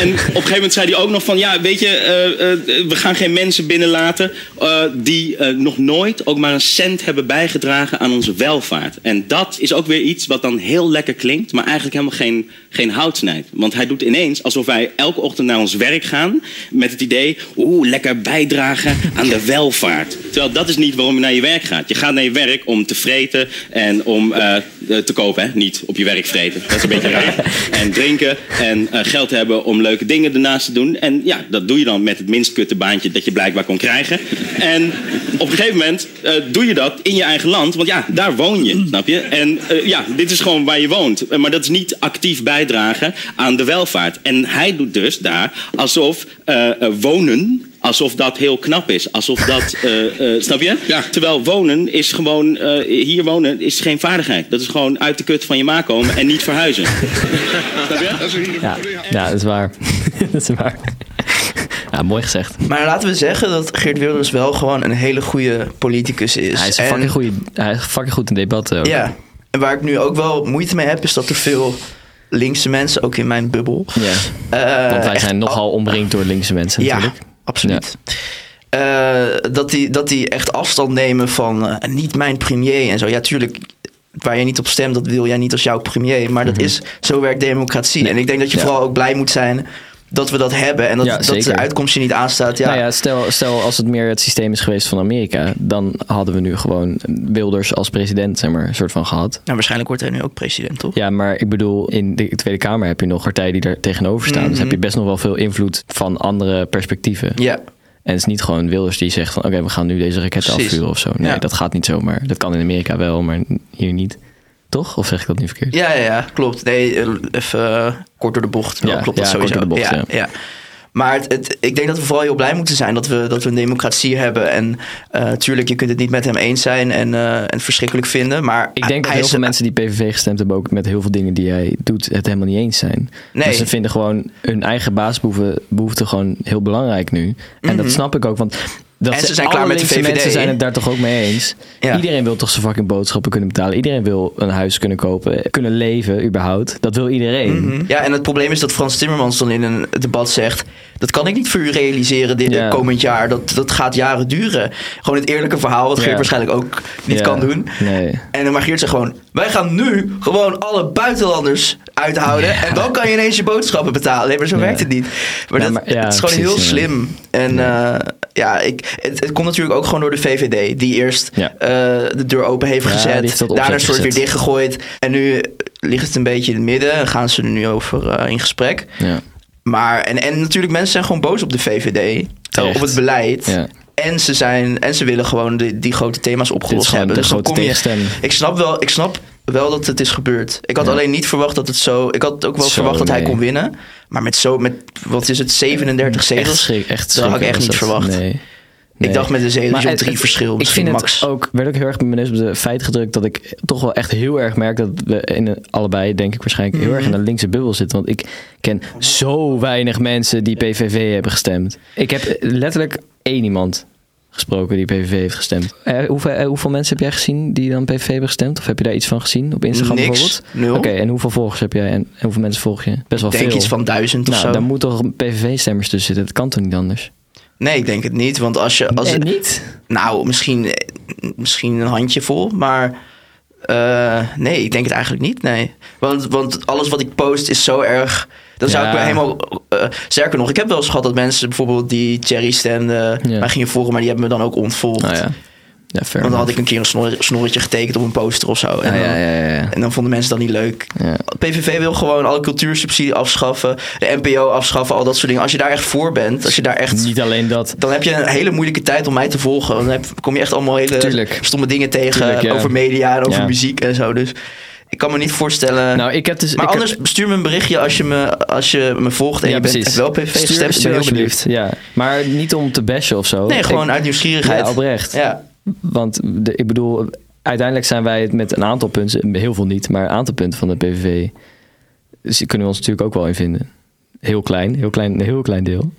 [SPEAKER 3] En op een gegeven moment zei hij ook nog van... ja, weet je, eh, eh, we gaan geen mensen binnenlaten... eh, die eh, nog nooit ook maar een cent hebben bijgedragen aan onze welvaart. En dat is ook weer iets wat dan heel lekker klinkt... maar eigenlijk helemaal geen, geen hout snijdt. Want hij doet ineens alsof wij elke ochtend naar ons werk gaan... met het idee, oeh, lekker bijdragen aan de welvaart. Terwijl dat is niet waarom je naar je werk gaat. Je gaat naar je werk om te vreten en om eh, eh, te kopen, hè? niet op je werk vreten. Dat is een beetje raar. En drinken en eh, geld hebben om leuke dingen ernaast te doen. En ja, dat doe je dan met het minst kutte baantje dat je blijkbaar kon krijgen. En op een gegeven moment eh, doe je dat in je eigen land, want ja, daar woon je, snap je? En eh, ja, dit is gewoon waar je woont. Eh, Maar dat is niet actief bijdragen aan de welvaart. En hij doet dus daar alsof eh, eh, wonen Alsof dat heel knap is. Alsof dat, eh, eh, snap je? Terwijl wonen is gewoon, eh, hier wonen is geen vaardigheid. Dat is gewoon uit de kut van je ma komen en niet verhuizen. snap je?
[SPEAKER 2] Ja, ja dat is waar. dat is waar. Ja, mooi gezegd.
[SPEAKER 1] Maar laten we zeggen dat Geert Wilders wel gewoon een hele goede politicus is.
[SPEAKER 2] Hij is een
[SPEAKER 1] En-
[SPEAKER 2] fucking, goeie, hij is fucking goed in debatten. ook.
[SPEAKER 1] Ja. En waar ik nu ook wel moeite mee heb, is dat er veel linkse mensen, ook in mijn bubbel.
[SPEAKER 2] Ja,
[SPEAKER 1] eh,
[SPEAKER 2] want wij
[SPEAKER 1] echt
[SPEAKER 2] zijn nogal omringd door linkse mensen
[SPEAKER 1] Ja,
[SPEAKER 2] natuurlijk.
[SPEAKER 1] absoluut. Eh, dat, die, dat die echt afstand nemen van eh, niet mijn premier en zo. Ja, tuurlijk, waar je niet op stemt, dat wil jij niet als jouw premier. Maar dat is, zo werkt democratie. En ik denk dat je
[SPEAKER 2] Mhm. Ja.
[SPEAKER 1] vooral ook blij moet zijn dat we dat hebben. En dat,
[SPEAKER 2] Ja,
[SPEAKER 1] dat de
[SPEAKER 2] zeker.
[SPEAKER 1] uitkomst je niet aanstaat. Ja,
[SPEAKER 2] Nou ja, stel, stel als het meer het systeem is geweest van Amerika, dan hadden we nu gewoon Wilders als president, zeg maar, een soort van gehad.
[SPEAKER 1] Nou, waarschijnlijk wordt hij nu ook president, toch?
[SPEAKER 2] Ja, maar ik bedoel, in de Tweede Kamer heb je nog partijen die daar tegenover staan. Dus heb je best nog wel veel invloed van andere perspectieven.
[SPEAKER 1] Mhm. Ja.
[SPEAKER 2] En het is niet gewoon Wilders die zegt van oké, we gaan nu deze raketten
[SPEAKER 1] Precies.
[SPEAKER 2] afvuren of zo. Nee,
[SPEAKER 1] Ja.
[SPEAKER 2] dat gaat niet zomaar. Dat kan in Amerika wel, maar hier niet. Toch? Of zeg ik dat nu verkeerd?
[SPEAKER 1] Ja, ja, ja, klopt. Nee, eh, even eh, kort door de bocht. Ja,
[SPEAKER 2] Ja,
[SPEAKER 1] klopt dat
[SPEAKER 2] ja,
[SPEAKER 1] sowieso.
[SPEAKER 2] kort door de
[SPEAKER 1] ja,
[SPEAKER 2] bocht,
[SPEAKER 1] ja. Maar het, het- ik denk dat we vooral heel blij moeten zijn dat we, dat we een democratie hebben. En eh tuurlijk, je kunt het niet met hem eens zijn en, eh, en het verschrikkelijk vinden. Maar
[SPEAKER 2] Ik denk dat heel veel mensen die PVV gestemd hebben ook met heel veel dingen die hij doet het helemaal niet eens zijn.
[SPEAKER 1] Nee.
[SPEAKER 2] Maar ze vinden gewoon hun eigen basisbehoeften gewoon heel belangrijk nu. En dat snap ik ook, want dat
[SPEAKER 1] Mhm. En ze zijn
[SPEAKER 2] alle
[SPEAKER 1] klaar met de
[SPEAKER 2] linkse
[SPEAKER 1] VVD.
[SPEAKER 2] mensen zijn het daar toch ook mee eens.
[SPEAKER 1] Ja.
[SPEAKER 2] Iedereen wil toch zijn fucking boodschappen kunnen betalen. Iedereen wil een huis kunnen kopen, kunnen leven überhaupt. Dat wil iedereen.
[SPEAKER 1] Mhm. Hm? Ja, en het probleem is dat Frans Timmermans dan in een debat zegt... dat kan ik niet voor u realiseren dit
[SPEAKER 2] Ja.
[SPEAKER 1] komend jaar. Dat, dat gaat jaren duren. Gewoon het eerlijke verhaal, wat
[SPEAKER 2] Ja.
[SPEAKER 1] Geert waarschijnlijk ook niet
[SPEAKER 2] Ja.
[SPEAKER 1] kan doen.
[SPEAKER 2] Nee.
[SPEAKER 1] En dan mag Geert ze gewoon, wij gaan nu gewoon alle buitenlanders uithouden. En dan kan je ineens je boodschappen betalen. Nee, maar zo
[SPEAKER 2] Ja.
[SPEAKER 1] werkt het niet. Maar,
[SPEAKER 2] Ja,
[SPEAKER 1] dat,
[SPEAKER 2] maar- ja,
[SPEAKER 1] het is gewoon
[SPEAKER 2] precies,
[SPEAKER 1] heel
[SPEAKER 2] ja.
[SPEAKER 1] slim. En eh, ja, ik, het, het komt natuurlijk ook gewoon door de VVD. Die eerst
[SPEAKER 2] Ja.
[SPEAKER 1] eh, de deur open heeft
[SPEAKER 2] Ja, die
[SPEAKER 1] gezet.
[SPEAKER 2] heeft dat opzet
[SPEAKER 1] daarna een soort weer
[SPEAKER 2] gezet.
[SPEAKER 1] dichtgegooid. En nu ligt het een beetje in het midden. En gaan ze er nu over eh, in gesprek.
[SPEAKER 2] Ja.
[SPEAKER 1] Maar, en, en natuurlijk, mensen zijn gewoon boos op de VVD. eh,
[SPEAKER 2] Terecht.
[SPEAKER 1] Op het beleid.
[SPEAKER 2] Ja.
[SPEAKER 1] En ze, zijn, en ze willen gewoon die, die grote thema's
[SPEAKER 2] Dit is
[SPEAKER 1] opgelost
[SPEAKER 2] gewoon
[SPEAKER 1] hebben.
[SPEAKER 2] de
[SPEAKER 1] dus dan
[SPEAKER 2] grote
[SPEAKER 1] kom je,
[SPEAKER 2] tegenstem.
[SPEAKER 1] ik snap wel, ik snap wel dat het is gebeurd. Ik had
[SPEAKER 2] Ja.
[SPEAKER 1] alleen niet verwacht dat het zo. Ik had ook wel
[SPEAKER 2] Zo,
[SPEAKER 1] verwacht dat hij
[SPEAKER 2] nee.
[SPEAKER 1] kon winnen. Maar met zo, met wat is het, 37
[SPEAKER 2] Echt
[SPEAKER 1] zetels?
[SPEAKER 2] schrik. Echt
[SPEAKER 1] Dat had ik
[SPEAKER 2] schrik
[SPEAKER 1] echt
[SPEAKER 2] was
[SPEAKER 1] niet
[SPEAKER 2] dat.
[SPEAKER 1] verwacht.
[SPEAKER 2] Nee.
[SPEAKER 1] Ik dacht met een zeteltje om
[SPEAKER 2] het-
[SPEAKER 1] drie
[SPEAKER 2] het-
[SPEAKER 1] verschil.
[SPEAKER 2] Ik vind
[SPEAKER 1] Misschien max.
[SPEAKER 2] het ook, werd ook heel erg met mijn neus op de feit gedrukt dat ik toch wel echt heel erg merk dat we in een- allebei, denk ik waarschijnlijk, heel
[SPEAKER 1] Mhm.
[SPEAKER 2] erg in een linkse bubbel zitten. Want ik ken zo weinig mensen die PVV hebben gestemd. Ik heb eh, letterlijk één iemand gesproken die PVV heeft gestemd. Eh, hoeveel, eh, hoeveel mensen heb jij gezien die dan PVV hebben gestemd? Of heb je daar iets van gezien op Instagram
[SPEAKER 1] Niks.
[SPEAKER 2] bijvoorbeeld?
[SPEAKER 1] Nul.
[SPEAKER 2] Oké, en hoeveel volgers heb jij en, en hoeveel mensen volg je? Best wel
[SPEAKER 1] Ik denk
[SPEAKER 2] veel.
[SPEAKER 1] iets van duizend of
[SPEAKER 2] nou,
[SPEAKER 1] zo.
[SPEAKER 2] daar moet toch PVV-stemmers tussen zitten? Dat kan toch niet anders?
[SPEAKER 1] Nee, ik denk het niet. Want als je. Als,
[SPEAKER 2] Eh, niet?
[SPEAKER 1] Nou, misschien, eh, misschien een handjevol, maar eh, nee, ik denk het eigenlijk niet. Nee. Want, want alles wat ik post is zo erg. Dan zou
[SPEAKER 2] Ja.
[SPEAKER 1] ik me helemaal. eh, sterker nog, ik heb wel eens gehad dat mensen bijvoorbeeld die Cherry stemden.
[SPEAKER 2] Ja.
[SPEAKER 1] mij gingen volgen, maar die hebben me dan ook ontvolgd.
[SPEAKER 2] Nou ja. Ja, fair
[SPEAKER 1] Want dan had
[SPEAKER 2] enough.
[SPEAKER 1] ik een keer een snor- snorretje getekend op een poster of zo. En,
[SPEAKER 2] Ja,
[SPEAKER 1] dan,
[SPEAKER 2] ja, ja, ja.
[SPEAKER 1] en dan vonden mensen dat niet leuk.
[SPEAKER 2] Ja.
[SPEAKER 1] PVV wil gewoon alle cultuursubsidie afschaffen, de NPO afschaffen, al dat soort dingen. Als je daar echt voor bent, als je daar echt
[SPEAKER 2] Niet alleen dat.
[SPEAKER 1] dan heb je een hele moeilijke tijd om mij te volgen. Dan heb, kom je echt allemaal hele
[SPEAKER 2] Tuurlijk.
[SPEAKER 1] stomme dingen tegen
[SPEAKER 2] Tuurlijk, ja.
[SPEAKER 1] over media en over
[SPEAKER 2] Ja.
[SPEAKER 1] muziek en zo. Dus ik kan me niet voorstellen.
[SPEAKER 2] Nou, ik heb dus.
[SPEAKER 1] maar
[SPEAKER 2] ik heb-
[SPEAKER 1] anders stuur me een berichtje als je me, als je me volgt en
[SPEAKER 2] Ja,
[SPEAKER 1] je bent
[SPEAKER 2] precies.
[SPEAKER 1] echt wel PV
[SPEAKER 2] Stuur-
[SPEAKER 1] gestemd. Ik
[SPEAKER 2] stuur
[SPEAKER 1] ben heel
[SPEAKER 2] alsjeblieft.
[SPEAKER 1] benieuwd.
[SPEAKER 2] Ja, maar niet om te bashen of zo.
[SPEAKER 1] Nee, gewoon
[SPEAKER 2] Ik-
[SPEAKER 1] uit nieuwsgierigheid.
[SPEAKER 2] Ja, oprecht.
[SPEAKER 1] Ja.
[SPEAKER 2] Want de, ik bedoel, uiteindelijk zijn wij het met een aantal punten, heel veel niet, maar een aantal punten van de PVV dus die kunnen we ons natuurlijk ook wel in vinden. Heel klein, heel klein, een heel klein deel.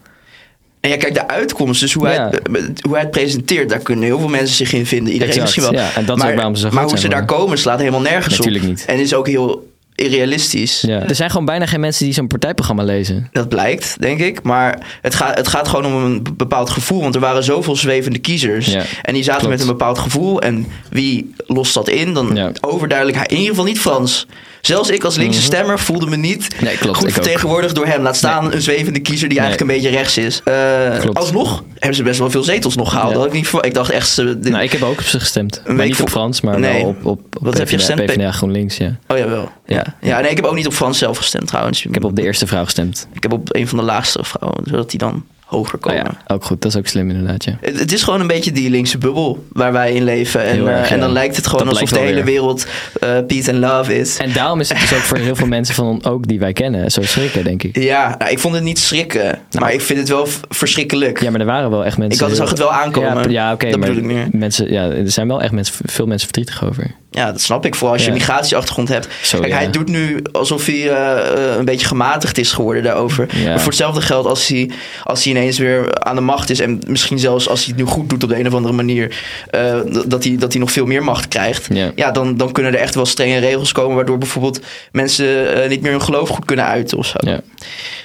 [SPEAKER 1] En ja, kijk, de uitkomst, dus hoe,
[SPEAKER 2] Ja.
[SPEAKER 1] hij, het- hoe hij het presenteert, daar kunnen heel veel mensen zich in vinden. Iedereen
[SPEAKER 2] Exact,
[SPEAKER 1] misschien wel.
[SPEAKER 2] ja. En dat is
[SPEAKER 1] maar
[SPEAKER 2] ook waarom ze zo
[SPEAKER 1] maar
[SPEAKER 2] goed
[SPEAKER 1] hoe ze
[SPEAKER 2] zijn
[SPEAKER 1] daar komen slaat helemaal nergens
[SPEAKER 2] Natuurlijk
[SPEAKER 1] op.
[SPEAKER 2] niet.
[SPEAKER 1] En is ook heel irrealistisch.
[SPEAKER 2] Ja. Er zijn gewoon bijna geen mensen die zo'n partijprogramma lezen.
[SPEAKER 1] Dat blijkt, denk ik. Maar het, gaat het gaat gewoon om een bepaald gevoel. Want er waren zoveel zwevende kiezers.
[SPEAKER 2] Ja,
[SPEAKER 1] en die zaten
[SPEAKER 2] klopt.
[SPEAKER 1] met een bepaald gevoel. En wie lost dat in? Dan
[SPEAKER 2] Ja. Mhm.
[SPEAKER 1] overduidelijk hij. In ieder geval niet Frans. Zelfs ik als linkse stemmer voelde me niet
[SPEAKER 2] Nee, klopt,
[SPEAKER 1] goed
[SPEAKER 2] ik ook.
[SPEAKER 1] vertegenwoordigd door hem. Laat staan een zwevende kiezer die
[SPEAKER 2] Nee.
[SPEAKER 1] eigenlijk een beetje rechts is. Eh,
[SPEAKER 2] Klopt.
[SPEAKER 1] alsnog hebben ze best wel veel zetels nog gehaald.
[SPEAKER 2] Ja.
[SPEAKER 1] Dat had ik, niet verwacht. ik dacht echt... ze- dit-
[SPEAKER 2] Nou, ik heb ook op ze gestemd. Maar
[SPEAKER 1] week
[SPEAKER 2] niet op
[SPEAKER 1] voor-
[SPEAKER 2] Frans, maar
[SPEAKER 1] Nee.
[SPEAKER 2] wel op, op, op
[SPEAKER 1] Wat heb je
[SPEAKER 2] PvdA,
[SPEAKER 1] gestemd?
[SPEAKER 2] PvdA GroenLinks, ja.
[SPEAKER 1] Oh jawel.
[SPEAKER 2] Ja.
[SPEAKER 1] Ja. ja, nee, ik heb ook niet op Frans zelf gestemd trouwens.
[SPEAKER 2] Ik heb op de eerste vrouw gestemd.
[SPEAKER 1] ik heb op een van de laagste vrouwen. Zodat die dan hoger
[SPEAKER 2] Oh
[SPEAKER 1] komen.
[SPEAKER 2] ja, ook goed. Dat is ook slim inderdaad, ja.
[SPEAKER 1] Het, het is gewoon een beetje die linkse bubbel waar wij in leven. En,
[SPEAKER 2] Heel erg,
[SPEAKER 1] eh, en
[SPEAKER 2] ja.
[SPEAKER 1] dan lijkt het gewoon
[SPEAKER 2] Dat
[SPEAKER 1] alsof de
[SPEAKER 2] blijkt
[SPEAKER 1] hele
[SPEAKER 2] wel
[SPEAKER 1] wereld eh peace and love is.
[SPEAKER 2] En daarom is het dus ook voor heel veel mensen van ons ook die wij kennen zo schrikken, denk ik.
[SPEAKER 1] Ja, nou, ik vond het niet schrikken, maar ik vind het wel v- verschrikkelijk.
[SPEAKER 2] Nou. Ja, maar er waren wel echt mensen...
[SPEAKER 1] Ik had- zag het wel aankomen.
[SPEAKER 2] Ja, ja oké,
[SPEAKER 1] Dat
[SPEAKER 2] maar
[SPEAKER 1] bedoel ik meer.
[SPEAKER 2] mensen, ja, er zijn wel echt mensen, veel mensen verdrietig over.
[SPEAKER 1] Ja, dat snap ik. Vooral als je
[SPEAKER 2] Ja.
[SPEAKER 1] een migratieachtergrond hebt.
[SPEAKER 2] Zo,
[SPEAKER 1] Kijk,
[SPEAKER 2] ja.
[SPEAKER 1] hij doet nu alsof hij eh, eh, een beetje gematigd is geworden daarover.
[SPEAKER 2] Ja.
[SPEAKER 1] Maar voor hetzelfde geld als hij, als hij ineens weer aan de macht is. En misschien zelfs als hij het nu goed doet op de een of andere manier. eh, d- dat, hij, dat hij nog veel meer macht krijgt.
[SPEAKER 2] Ja.
[SPEAKER 1] dan, dan kunnen er echt wel strenge regels komen. Waardoor bijvoorbeeld mensen eh, niet meer hun geloof goed kunnen uiten of zo.
[SPEAKER 2] Ja,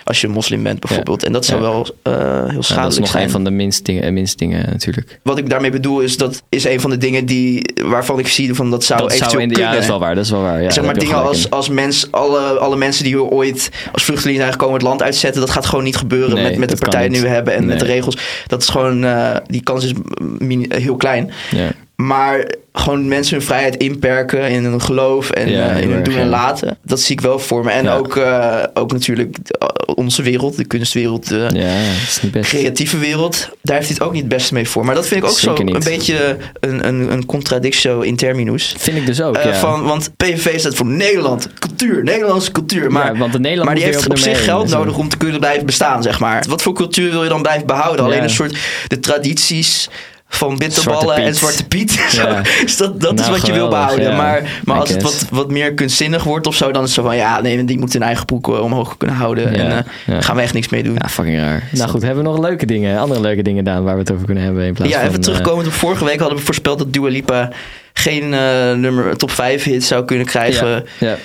[SPEAKER 1] Als je een moslim bent bijvoorbeeld. En dat zou
[SPEAKER 2] Ja.
[SPEAKER 1] wel eh, heel schadelijk
[SPEAKER 2] Nou, dat is nog
[SPEAKER 1] zijn.
[SPEAKER 2] een van de minst dingen, minst dingen natuurlijk.
[SPEAKER 1] Wat ik daarmee bedoel is dat is een van de dingen die, waarvan ik zie van dat zou
[SPEAKER 2] dat
[SPEAKER 1] eventueel
[SPEAKER 2] zou in de, ja,
[SPEAKER 1] kunnen.
[SPEAKER 2] dat is wel waar, dat is wel waar. Ja,
[SPEAKER 1] zeg
[SPEAKER 2] daar
[SPEAKER 1] maar
[SPEAKER 2] heb je
[SPEAKER 1] dingen
[SPEAKER 2] gelijk
[SPEAKER 1] als,
[SPEAKER 2] in.
[SPEAKER 1] als mens, alle, alle mensen die hier ooit als vluchteling zijn gekomen het land uitzetten, dat gaat gewoon niet gebeuren
[SPEAKER 2] Nee,
[SPEAKER 1] met, met de
[SPEAKER 2] dat kan
[SPEAKER 1] partijen die
[SPEAKER 2] niet.
[SPEAKER 1] we hebben en met de
[SPEAKER 2] Nee.
[SPEAKER 1] regels. Dat is gewoon, eh, die kans is min- heel klein.
[SPEAKER 2] Ja.
[SPEAKER 1] Maar gewoon mensen hun vrijheid inperken in hun geloof en
[SPEAKER 2] Ja,
[SPEAKER 1] eh, in
[SPEAKER 2] heel
[SPEAKER 1] hun
[SPEAKER 2] erg,
[SPEAKER 1] doen en
[SPEAKER 2] ja.
[SPEAKER 1] laten. Dat zie ik wel voor me. En
[SPEAKER 2] Ja.
[SPEAKER 1] ook, eh, ook natuurlijk eh, onze wereld, de kunstwereld, de
[SPEAKER 2] Ja, dat is niet best.
[SPEAKER 1] creatieve wereld. Daar heeft hij het ook niet het beste mee voor. Maar dat vind ik ook
[SPEAKER 2] Zeker
[SPEAKER 1] zo
[SPEAKER 2] niet.
[SPEAKER 1] een beetje een, een, een contradictio in terminus.
[SPEAKER 2] Vind ik dus ook,
[SPEAKER 1] Eh,
[SPEAKER 2] ja.
[SPEAKER 1] van, want PVV staat voor Nederland, cultuur, Nederlandse cultuur. Maar,
[SPEAKER 2] Ja, want de Nederland
[SPEAKER 1] maar die
[SPEAKER 2] moet weer
[SPEAKER 1] heeft
[SPEAKER 2] op
[SPEAKER 1] op
[SPEAKER 2] de
[SPEAKER 1] zich
[SPEAKER 2] mee en
[SPEAKER 1] geld
[SPEAKER 2] zo.
[SPEAKER 1] nodig om te kunnen blijven bestaan, zeg maar. Wat voor cultuur wil je dan blijven behouden? Alleen
[SPEAKER 2] Ja.
[SPEAKER 1] een soort de tradities van bitterballen
[SPEAKER 2] Zwarte
[SPEAKER 1] en
[SPEAKER 2] Piet.
[SPEAKER 1] Zwarte Piet. Zo,
[SPEAKER 2] Ja.
[SPEAKER 1] is dat dat
[SPEAKER 2] Nou,
[SPEAKER 1] is wat je wil
[SPEAKER 2] geweldig,
[SPEAKER 1] behouden.
[SPEAKER 2] ja.
[SPEAKER 1] Maar, maar
[SPEAKER 2] I
[SPEAKER 1] als het
[SPEAKER 2] guess.
[SPEAKER 1] wat, wat meer kunstzinnig wordt of zo, dan is het zo van... ja, nee, die moeten hun eigen broek eh, omhoog kunnen houden.
[SPEAKER 2] Ja,
[SPEAKER 1] En eh,
[SPEAKER 2] ja.
[SPEAKER 1] gaan we echt niks mee doen.
[SPEAKER 2] Ja, fucking raar. Nou goed, hebben we nog leuke dingen, andere leuke dingen, Daan, waar we het over kunnen hebben in plaats
[SPEAKER 1] Ja,
[SPEAKER 2] van...
[SPEAKER 1] even
[SPEAKER 2] eh,
[SPEAKER 1] terugkomend op vorige week hadden we voorspeld dat Dua Lipa geen eh, nummer, top 5 hit zou kunnen krijgen.
[SPEAKER 2] Ja. ja.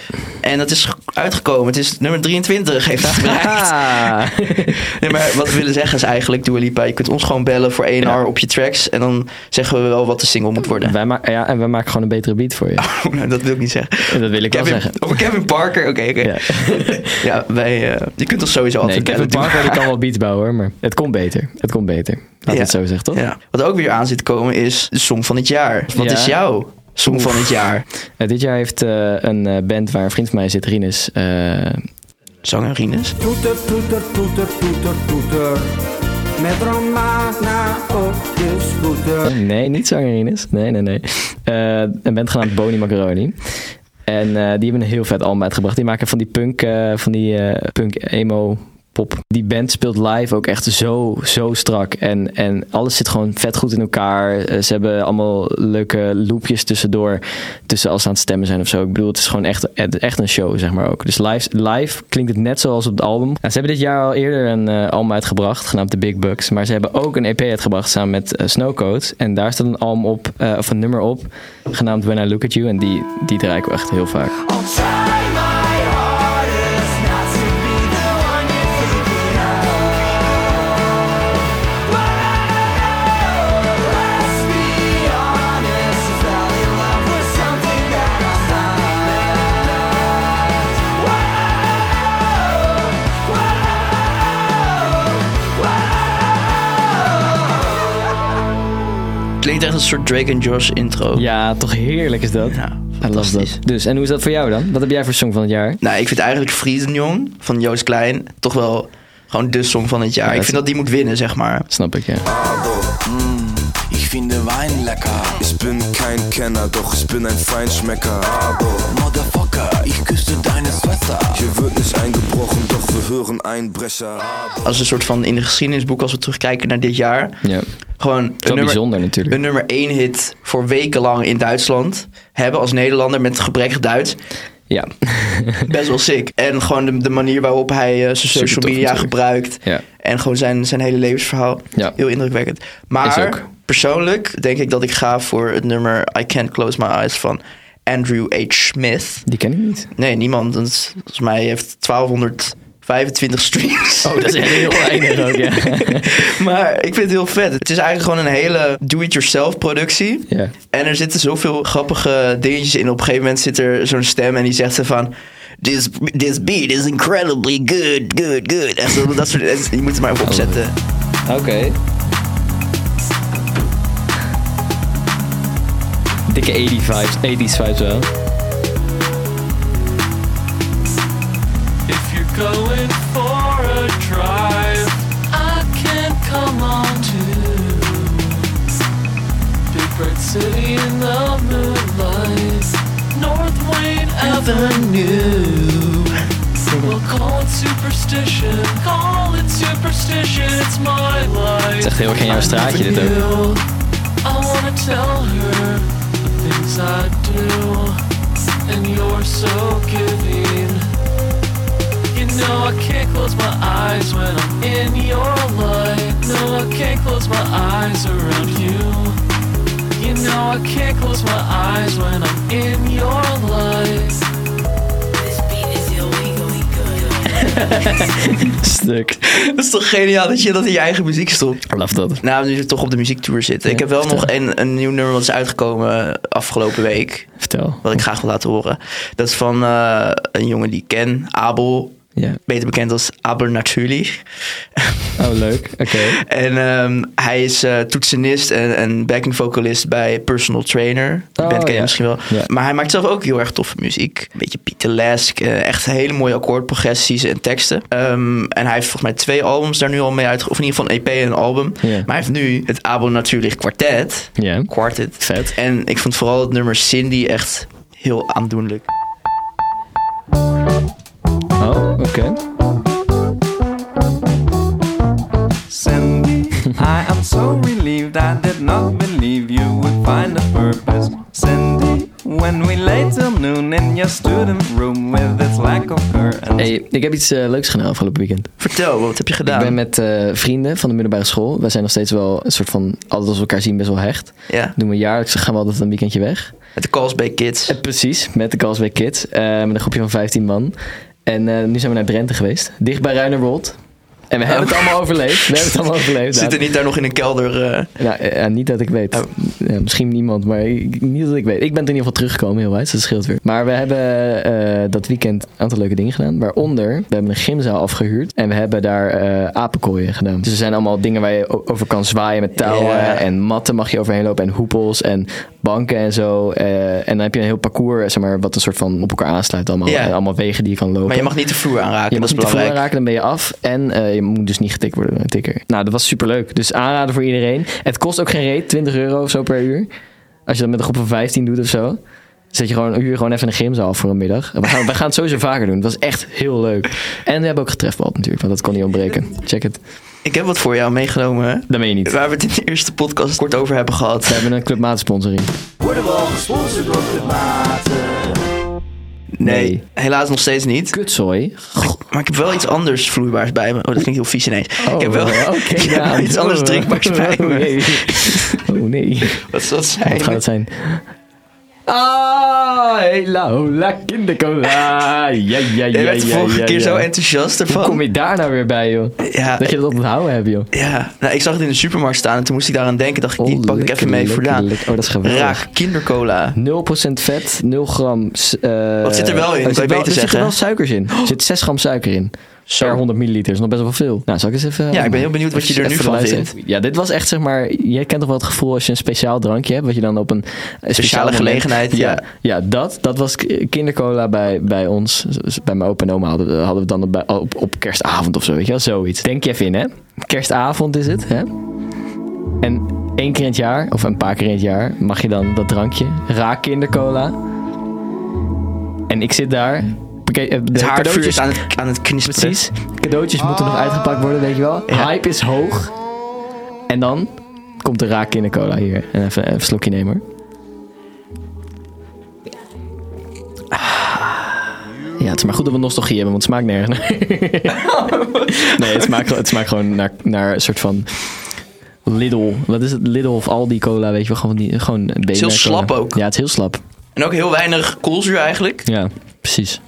[SPEAKER 1] En dat is ge- uitgekomen. Het is nummer 23 heeft hij bereikt.
[SPEAKER 2] Ah.
[SPEAKER 1] Nee, maar wat we willen zeggen is eigenlijk, Dua Lipa, je kunt ons gewoon bellen voor 1
[SPEAKER 2] Ja.
[SPEAKER 1] hour op je tracks. En dan zeggen we wel wat de single moet worden.
[SPEAKER 2] wij ma- ja, en wij maken gewoon een betere beat voor je.
[SPEAKER 1] Nou, dat wil ik niet zeggen.
[SPEAKER 2] Dat wil ik wel
[SPEAKER 1] Kevin,
[SPEAKER 2] zeggen.
[SPEAKER 1] Over Kevin Parker, oké, oké.
[SPEAKER 2] Ja.
[SPEAKER 1] Ja, wij, eh, je kunt ons sowieso
[SPEAKER 2] Nee,
[SPEAKER 1] altijd
[SPEAKER 2] Kevin
[SPEAKER 1] bellen.
[SPEAKER 2] Parker die kan wel beats bouwen, hoor, maar het komt beter. Het komt beter. Laat
[SPEAKER 1] Ja.
[SPEAKER 2] het zo zeggen, toch?
[SPEAKER 1] Ja. Wat ook weer aan zit te komen is de song van het jaar. Wat
[SPEAKER 2] Ja.
[SPEAKER 1] is jouw song van het jaar?
[SPEAKER 2] Eh, dit jaar heeft eh, een eh, band waar een vriend van mij zit, Rinus, eh,
[SPEAKER 1] Zanger Rinus?
[SPEAKER 4] Toeter, toeter, toeter, toeter, toeter. Met Romana op je scooter.
[SPEAKER 2] Nee, niet zangerines. Nee, nee, nee. Eh, een band genaamd Boni Macaroni. En eh, die hebben een heel vet album uitgebracht. Die maken van die punk, eh, van die eh, punk emo pop. Die band speelt live ook echt zo, zo strak. En, en alles zit gewoon vet goed in elkaar. Eh, ze hebben allemaal leuke loopjes tussendoor. Tussen als ze aan het stemmen zijn of zo. Ik bedoel, het is gewoon echt, het- echt een show, zeg maar ook. Dus live, live klinkt het net zoals op het album. En ze hebben dit jaar al eerder een eh, album uitgebracht, genaamd The Big Bucks. Maar ze hebben ook een EP uitgebracht samen met eh, Snowcoat. En daar staat een album op, eh, of een nummer op, genaamd When I Look At You. En die, die draai ik wel echt heel vaak.
[SPEAKER 5] I'll try my hardest not to be the one you're thinking of. But I don't know, let's be honest. I fell in love with something that I found. What I know, what I know, what I know.
[SPEAKER 1] Klinkt echt als een soort Drake en Josh intro.
[SPEAKER 2] Ja, toch heerlijk is dat.
[SPEAKER 1] Ja,
[SPEAKER 2] I love
[SPEAKER 1] fantastisch.
[SPEAKER 2] that. Dus, en hoe is dat voor jou dan? Wat heb jij voor song van het jaar?
[SPEAKER 1] Nou, ik vind eigenlijk Friedenjong van Joost Klein toch wel gewoon de song van het jaar. ik
[SPEAKER 2] dat
[SPEAKER 1] vind dat die moet winnen, zeg maar.
[SPEAKER 2] Snap ik, ja.
[SPEAKER 6] Ich finde Wein lecker. Ich bin kein Kenner, doch ich bin ein Feinschmecker. Aber Motherfucker, ich küsste deine Schwester. Hier wird nicht eingebrochen, doch wir hören Einbrecher.
[SPEAKER 1] Als een soort van in de geschiedenisboek, als we terugkijken naar dit jaar.
[SPEAKER 2] ja.
[SPEAKER 1] Gewoon een
[SPEAKER 2] Wel
[SPEAKER 1] nummer,
[SPEAKER 2] bijzonder natuurlijk.
[SPEAKER 1] een nummer één hit voor wekenlang in Duitsland hebben als Nederlander met gebrekkig Duits.
[SPEAKER 2] Ja.
[SPEAKER 1] Best wel sick. En gewoon de, de manier waarop hij eh, zijn
[SPEAKER 2] Super
[SPEAKER 1] social
[SPEAKER 2] tof
[SPEAKER 1] media
[SPEAKER 2] natuurlijk.
[SPEAKER 1] gebruikt.
[SPEAKER 2] Ja.
[SPEAKER 1] En gewoon zijn, zijn hele levensverhaal.
[SPEAKER 2] Ja.
[SPEAKER 1] Heel indrukwekkend.
[SPEAKER 2] Is
[SPEAKER 1] Maar
[SPEAKER 2] ook.
[SPEAKER 1] persoonlijk denk ik dat ik ga voor het nummer I Can't Close My Eyes van Andrew H. Smith.
[SPEAKER 2] Die ken ik niet.
[SPEAKER 1] Nee, niemand. Dat is- volgens mij heeft 1225 streams.
[SPEAKER 2] Oh, dat is echt heel weinig ook, ja.
[SPEAKER 1] maar ik vind het heel vet. Het is eigenlijk gewoon een hele do-it-yourself productie.
[SPEAKER 2] Ja.
[SPEAKER 1] En er zitten zoveel grappige dingetjes in. Op een gegeven moment zit er zo'n stem en die zegt ze van... This, this beat is incredibly good, good, good. En zo, dat soort, en je moet het maar even opzetten.
[SPEAKER 2] Oké. Dikke 80 vibes, 80s vibes wel.
[SPEAKER 7] If you're going for a drive, I can come on too. Big Red City in the moonlight, North Wayne Avenue. We'll call it superstition, call it superstition, it's my life.
[SPEAKER 2] Het is echt heel erg in jouw straatje dit ook.
[SPEAKER 7] I wanna tell her the things I do, and you're so giving. You know I can't close my eyes when I'm in your light. No, I can't close my eyes around you. You know I can't close my eyes when I'm in your light.
[SPEAKER 5] This beat is illegally good.
[SPEAKER 2] Stuk.
[SPEAKER 1] Dat is toch geniaal dat je dat in je eigen muziek stopt.
[SPEAKER 2] I love dat.
[SPEAKER 1] Nou, nu we toch op de muziektour zitten. Ik heb wel nog een, een nieuw nummer dat is uitgekomen afgelopen week.
[SPEAKER 2] Vertel.
[SPEAKER 1] Wat ik graag wil laten horen. Dat is van eh, een jongen die ik ken, Abel.
[SPEAKER 2] Ja.
[SPEAKER 1] Beter bekend als Abel Natürlich.
[SPEAKER 2] Oh, leuk. Oké.
[SPEAKER 1] En ehm, hij is eh, toetsenist en, en backing vocalist bij Personal Trainer. Die
[SPEAKER 2] Oh,
[SPEAKER 1] band ken je
[SPEAKER 2] ja.
[SPEAKER 1] misschien wel.
[SPEAKER 2] Ja.
[SPEAKER 1] Maar hij maakt zelf ook heel erg toffe muziek. Een beetje Pieterlesk. eh, echt hele mooie akkoordprogressies en teksten. Ehm, en hij heeft volgens mij twee albums daar nu al mee uitge... Of in ieder geval een EP en een album.
[SPEAKER 2] Ja.
[SPEAKER 1] Maar hij heeft nu het Abel Natuurlijk Quartet.
[SPEAKER 2] Ja.
[SPEAKER 1] Quartet.
[SPEAKER 2] Vet.
[SPEAKER 1] En ik vond vooral het nummer Cindy echt heel aandoenlijk.
[SPEAKER 2] Oh, oké.
[SPEAKER 4] Cindy, I am so relieved I did not believe you would find a purpose. Cindy, when we lay till noon in your student room with its lack of curtains.
[SPEAKER 2] Hey, ik heb iets eh, leuks gedaan afgelopen weekend.
[SPEAKER 1] Vertel, wat heb je gedaan?
[SPEAKER 2] Ik ben met eh, vrienden van de middelbare school. Wij zijn nog steeds wel een soort van, altijd als we elkaar zien, best wel hecht.
[SPEAKER 1] Ja.
[SPEAKER 2] Doen we jaarlijks, dan gaan we altijd een weekendje weg.
[SPEAKER 1] Met de Carlsbad Kids.
[SPEAKER 2] Eh, Precies, met de Carlsbad Kids. eh, met een groepje van 15 man. En eh, nu zijn we naar Drenthe geweest. Dicht bij Ruinerwold. En we hebben het allemaal overleefd. We hebben het allemaal overleefd.
[SPEAKER 1] Zitten niet daar nog in een kelder. eh
[SPEAKER 2] Nou, eh, eh, niet dat ik weet.
[SPEAKER 1] Oh.
[SPEAKER 2] Ja, misschien niemand, maar ik- niet dat ik weet. Ik ben in ieder geval teruggekomen heel wijd, dus dat scheelt weer. Maar we hebben eh, dat weekend een aantal leuke dingen gedaan. Waaronder, we hebben een gymzaal afgehuurd en we hebben daar eh, apenkooien gedaan. Dus er zijn allemaal dingen waar je o- over kan zwaaien met touwen.
[SPEAKER 1] Ja.
[SPEAKER 2] En matten mag je overheen lopen en hoepels en banken en zo. eh, en dan heb je een heel parcours, zeg maar, wat een soort van op elkaar aansluit allemaal.
[SPEAKER 1] Ja.
[SPEAKER 2] En allemaal wegen die je kan lopen.
[SPEAKER 1] maar je mag niet de vloer aanraken. dat
[SPEAKER 2] Je mag
[SPEAKER 1] is
[SPEAKER 2] niet te vroeg
[SPEAKER 1] belangrijk.
[SPEAKER 2] raken, dan ben je af. En eh, je moet dus niet getikt worden door een tikker. Nou, dat was superleuk. Dus aanraden voor iedereen. Het kost ook geen reet, 20 euro of zo per uur. Als je dat met een groep van 15 doet of zo. Zet je gewoon, huur je gewoon even een gymzaal voor een middag. We gaan, we gaan het sowieso vaker doen. Dat was echt heel leuk. En we hebben ook getrefbald natuurlijk, want dat kon niet ontbreken. Check het.
[SPEAKER 1] Ik heb wat voor jou meegenomen. hè,
[SPEAKER 2] Dat meen je niet.
[SPEAKER 1] Waar we het in de eerste podcast kort over hebben
[SPEAKER 2] We
[SPEAKER 1] gehad.
[SPEAKER 2] hebben een clubmaatsponsoring.
[SPEAKER 1] Nee,
[SPEAKER 2] Nee.
[SPEAKER 1] helaas nog steeds niet.
[SPEAKER 2] Kutzooi.
[SPEAKER 1] Maar ik heb wel iets anders vloeibaars bij me. Oh, dat klinkt heel vies ineens. ik heb wel,
[SPEAKER 2] Oh, oké,
[SPEAKER 1] ik heb
[SPEAKER 2] ja.
[SPEAKER 1] wel iets anders drinkbaars bij
[SPEAKER 2] Oh,
[SPEAKER 1] me.
[SPEAKER 2] nee. Oh nee.
[SPEAKER 1] Wat zal dat
[SPEAKER 2] Wat gaat
[SPEAKER 1] zijn?
[SPEAKER 2] het zijn? Ah, hela hola kindercola. Ja, ja, ja,
[SPEAKER 1] Jij werd
[SPEAKER 2] ja,
[SPEAKER 1] de vorige
[SPEAKER 2] ja,
[SPEAKER 1] keer
[SPEAKER 2] ja.
[SPEAKER 1] zo enthousiast
[SPEAKER 2] Hoe
[SPEAKER 1] ervan.
[SPEAKER 2] kom je daar nou weer bij, joh?
[SPEAKER 1] Ja,
[SPEAKER 2] Dat je dat onthouden hebt, joh.
[SPEAKER 1] ja. Nou, ik zag het in de supermarkt staan en toen moest ik daaraan denken. Dacht ik, die
[SPEAKER 2] Oh,
[SPEAKER 1] pak ik
[SPEAKER 2] lekker,
[SPEAKER 1] even mee
[SPEAKER 2] lekker,
[SPEAKER 1] voor Daan.
[SPEAKER 2] lekker. Oh, dat is geweldig.
[SPEAKER 1] Raak kindercola.
[SPEAKER 2] 0% vet, 0 gram... s- eh,
[SPEAKER 1] Wat zit er wel in? Kan
[SPEAKER 2] Er
[SPEAKER 1] je
[SPEAKER 2] zit wel,
[SPEAKER 1] beter
[SPEAKER 2] er zitten
[SPEAKER 1] zeggen,
[SPEAKER 2] wel
[SPEAKER 1] hè?
[SPEAKER 2] suikers in. Er zit 6 gram suiker in. Per 100 milliliter. is nog best wel veel. Nou, zal ik eens even... eh,
[SPEAKER 1] Ja, ik ben heel benieuwd wat je er
[SPEAKER 2] Even
[SPEAKER 1] nu
[SPEAKER 2] voor de
[SPEAKER 1] van
[SPEAKER 2] luisteraar.
[SPEAKER 1] vindt.
[SPEAKER 2] Ja, dit was echt zeg maar... Jij kent toch wel het gevoel als je een speciaal drankje hebt... wat je dan op een speciale
[SPEAKER 1] gelegenheid, ja.
[SPEAKER 2] ja, ja dat, dat was k- kindercola bij, bij ons. Dus Bij mijn opa en oma hadden, we- hadden we het dan op, bij- op, op kerstavond of zo. Weet je wel, zoiets. Denk je even in, hè? Kerstavond is het, hè? En één keer in het jaar, of een paar keer in het jaar... mag je dan dat drankje, raak kindercola. En ik zit daar... pakket- eh, De
[SPEAKER 1] Het haardvuur
[SPEAKER 2] cadeautjes
[SPEAKER 1] is aan het, aan het knisperen.
[SPEAKER 2] Precies. Cadeautjes moeten nog uitgepakt worden, weet je wel.
[SPEAKER 1] Ja.
[SPEAKER 2] Hype is hoog. En dan komt de raak in de cola hier. En even, even een slokje nemen hoor. Ah. Ja, het is maar goed dat we nostalgie hebben, want het smaakt nergens naar. nee, het smaakt, gewoon- het smaakt gewoon naar, naar een soort van Lidl. Wat is het? Lidl of Aldi cola, weet je wel. Gewoon, die, gewoon een beetje
[SPEAKER 1] heel slap ook.
[SPEAKER 2] Ja, het is heel slap.
[SPEAKER 1] En ook heel weinig koolzuur eigenlijk.
[SPEAKER 2] Ja, precies.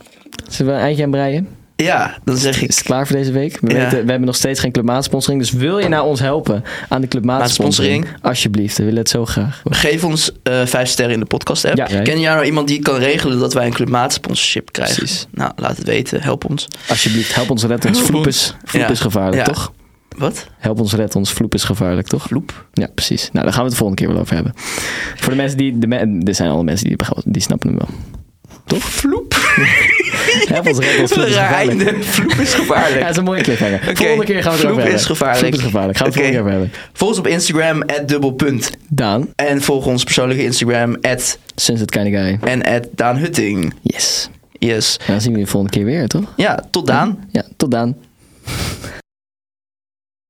[SPEAKER 2] Zullen we een eindje aan breien?
[SPEAKER 1] Ja, dan zeg
[SPEAKER 2] Is
[SPEAKER 1] ik.
[SPEAKER 2] het klaar voor deze week? We,
[SPEAKER 1] Ja.
[SPEAKER 2] weten, we hebben nog steeds geen clubmaatsponsoring. Dus wil je nou ons helpen aan de clubmaatsponsoring?
[SPEAKER 1] Maatsponsoring.
[SPEAKER 2] Alsjeblieft, we willen het zo graag.
[SPEAKER 1] Geef ons eh vijf sterren in de podcast app.
[SPEAKER 2] Ja.
[SPEAKER 1] Ken jij nou iemand die kan regelen dat wij een klimaatssponsorship krijgen?
[SPEAKER 2] Precies.
[SPEAKER 1] Nou, laat het weten. Help ons.
[SPEAKER 2] Alsjeblieft, help ons red ons.
[SPEAKER 1] Help
[SPEAKER 2] Vloep
[SPEAKER 1] ons.
[SPEAKER 2] is, vloep
[SPEAKER 1] Ja.
[SPEAKER 2] is gevaarlijk,
[SPEAKER 1] Ja.
[SPEAKER 2] toch?
[SPEAKER 1] Wat?
[SPEAKER 2] Help ons red ons, vloep is gevaarlijk, toch?
[SPEAKER 1] Vloep?
[SPEAKER 2] Ja, precies. Nou, daar gaan we het de volgende keer wel over hebben. Voor de mensen die... De me- er zijn alle mensen die, begrijpen- die snappen hem wel.
[SPEAKER 1] Toch? Vloep.
[SPEAKER 2] Help ons red ons,
[SPEAKER 1] Wat
[SPEAKER 2] vloep
[SPEAKER 1] een
[SPEAKER 2] is
[SPEAKER 1] raar
[SPEAKER 2] gevaarlijk.
[SPEAKER 1] einde. Vloep is
[SPEAKER 2] Ja,
[SPEAKER 1] gevaarlijk.
[SPEAKER 2] dat is een mooie cliffhanger.
[SPEAKER 1] Oké,
[SPEAKER 2] Volgende keer gaan we het
[SPEAKER 1] vloep
[SPEAKER 2] erover hebben.
[SPEAKER 1] is gevaarlijk.
[SPEAKER 2] Vloep is gevaarlijk. Gaan we het
[SPEAKER 1] Oké.
[SPEAKER 2] volgende keer over hebben.
[SPEAKER 1] Volg ons op Instagram, at dubbelpunt.
[SPEAKER 2] Daan,
[SPEAKER 1] En volg ons persoonlijke Instagram, at
[SPEAKER 2] sinds het kind of guy.
[SPEAKER 1] en at Daan Hutting.
[SPEAKER 2] Yes. Nou,
[SPEAKER 1] Yes.
[SPEAKER 2] En dan zien we je volgende keer weer, toch?
[SPEAKER 1] Ja, tot Daan.
[SPEAKER 2] Ja, tot Daan.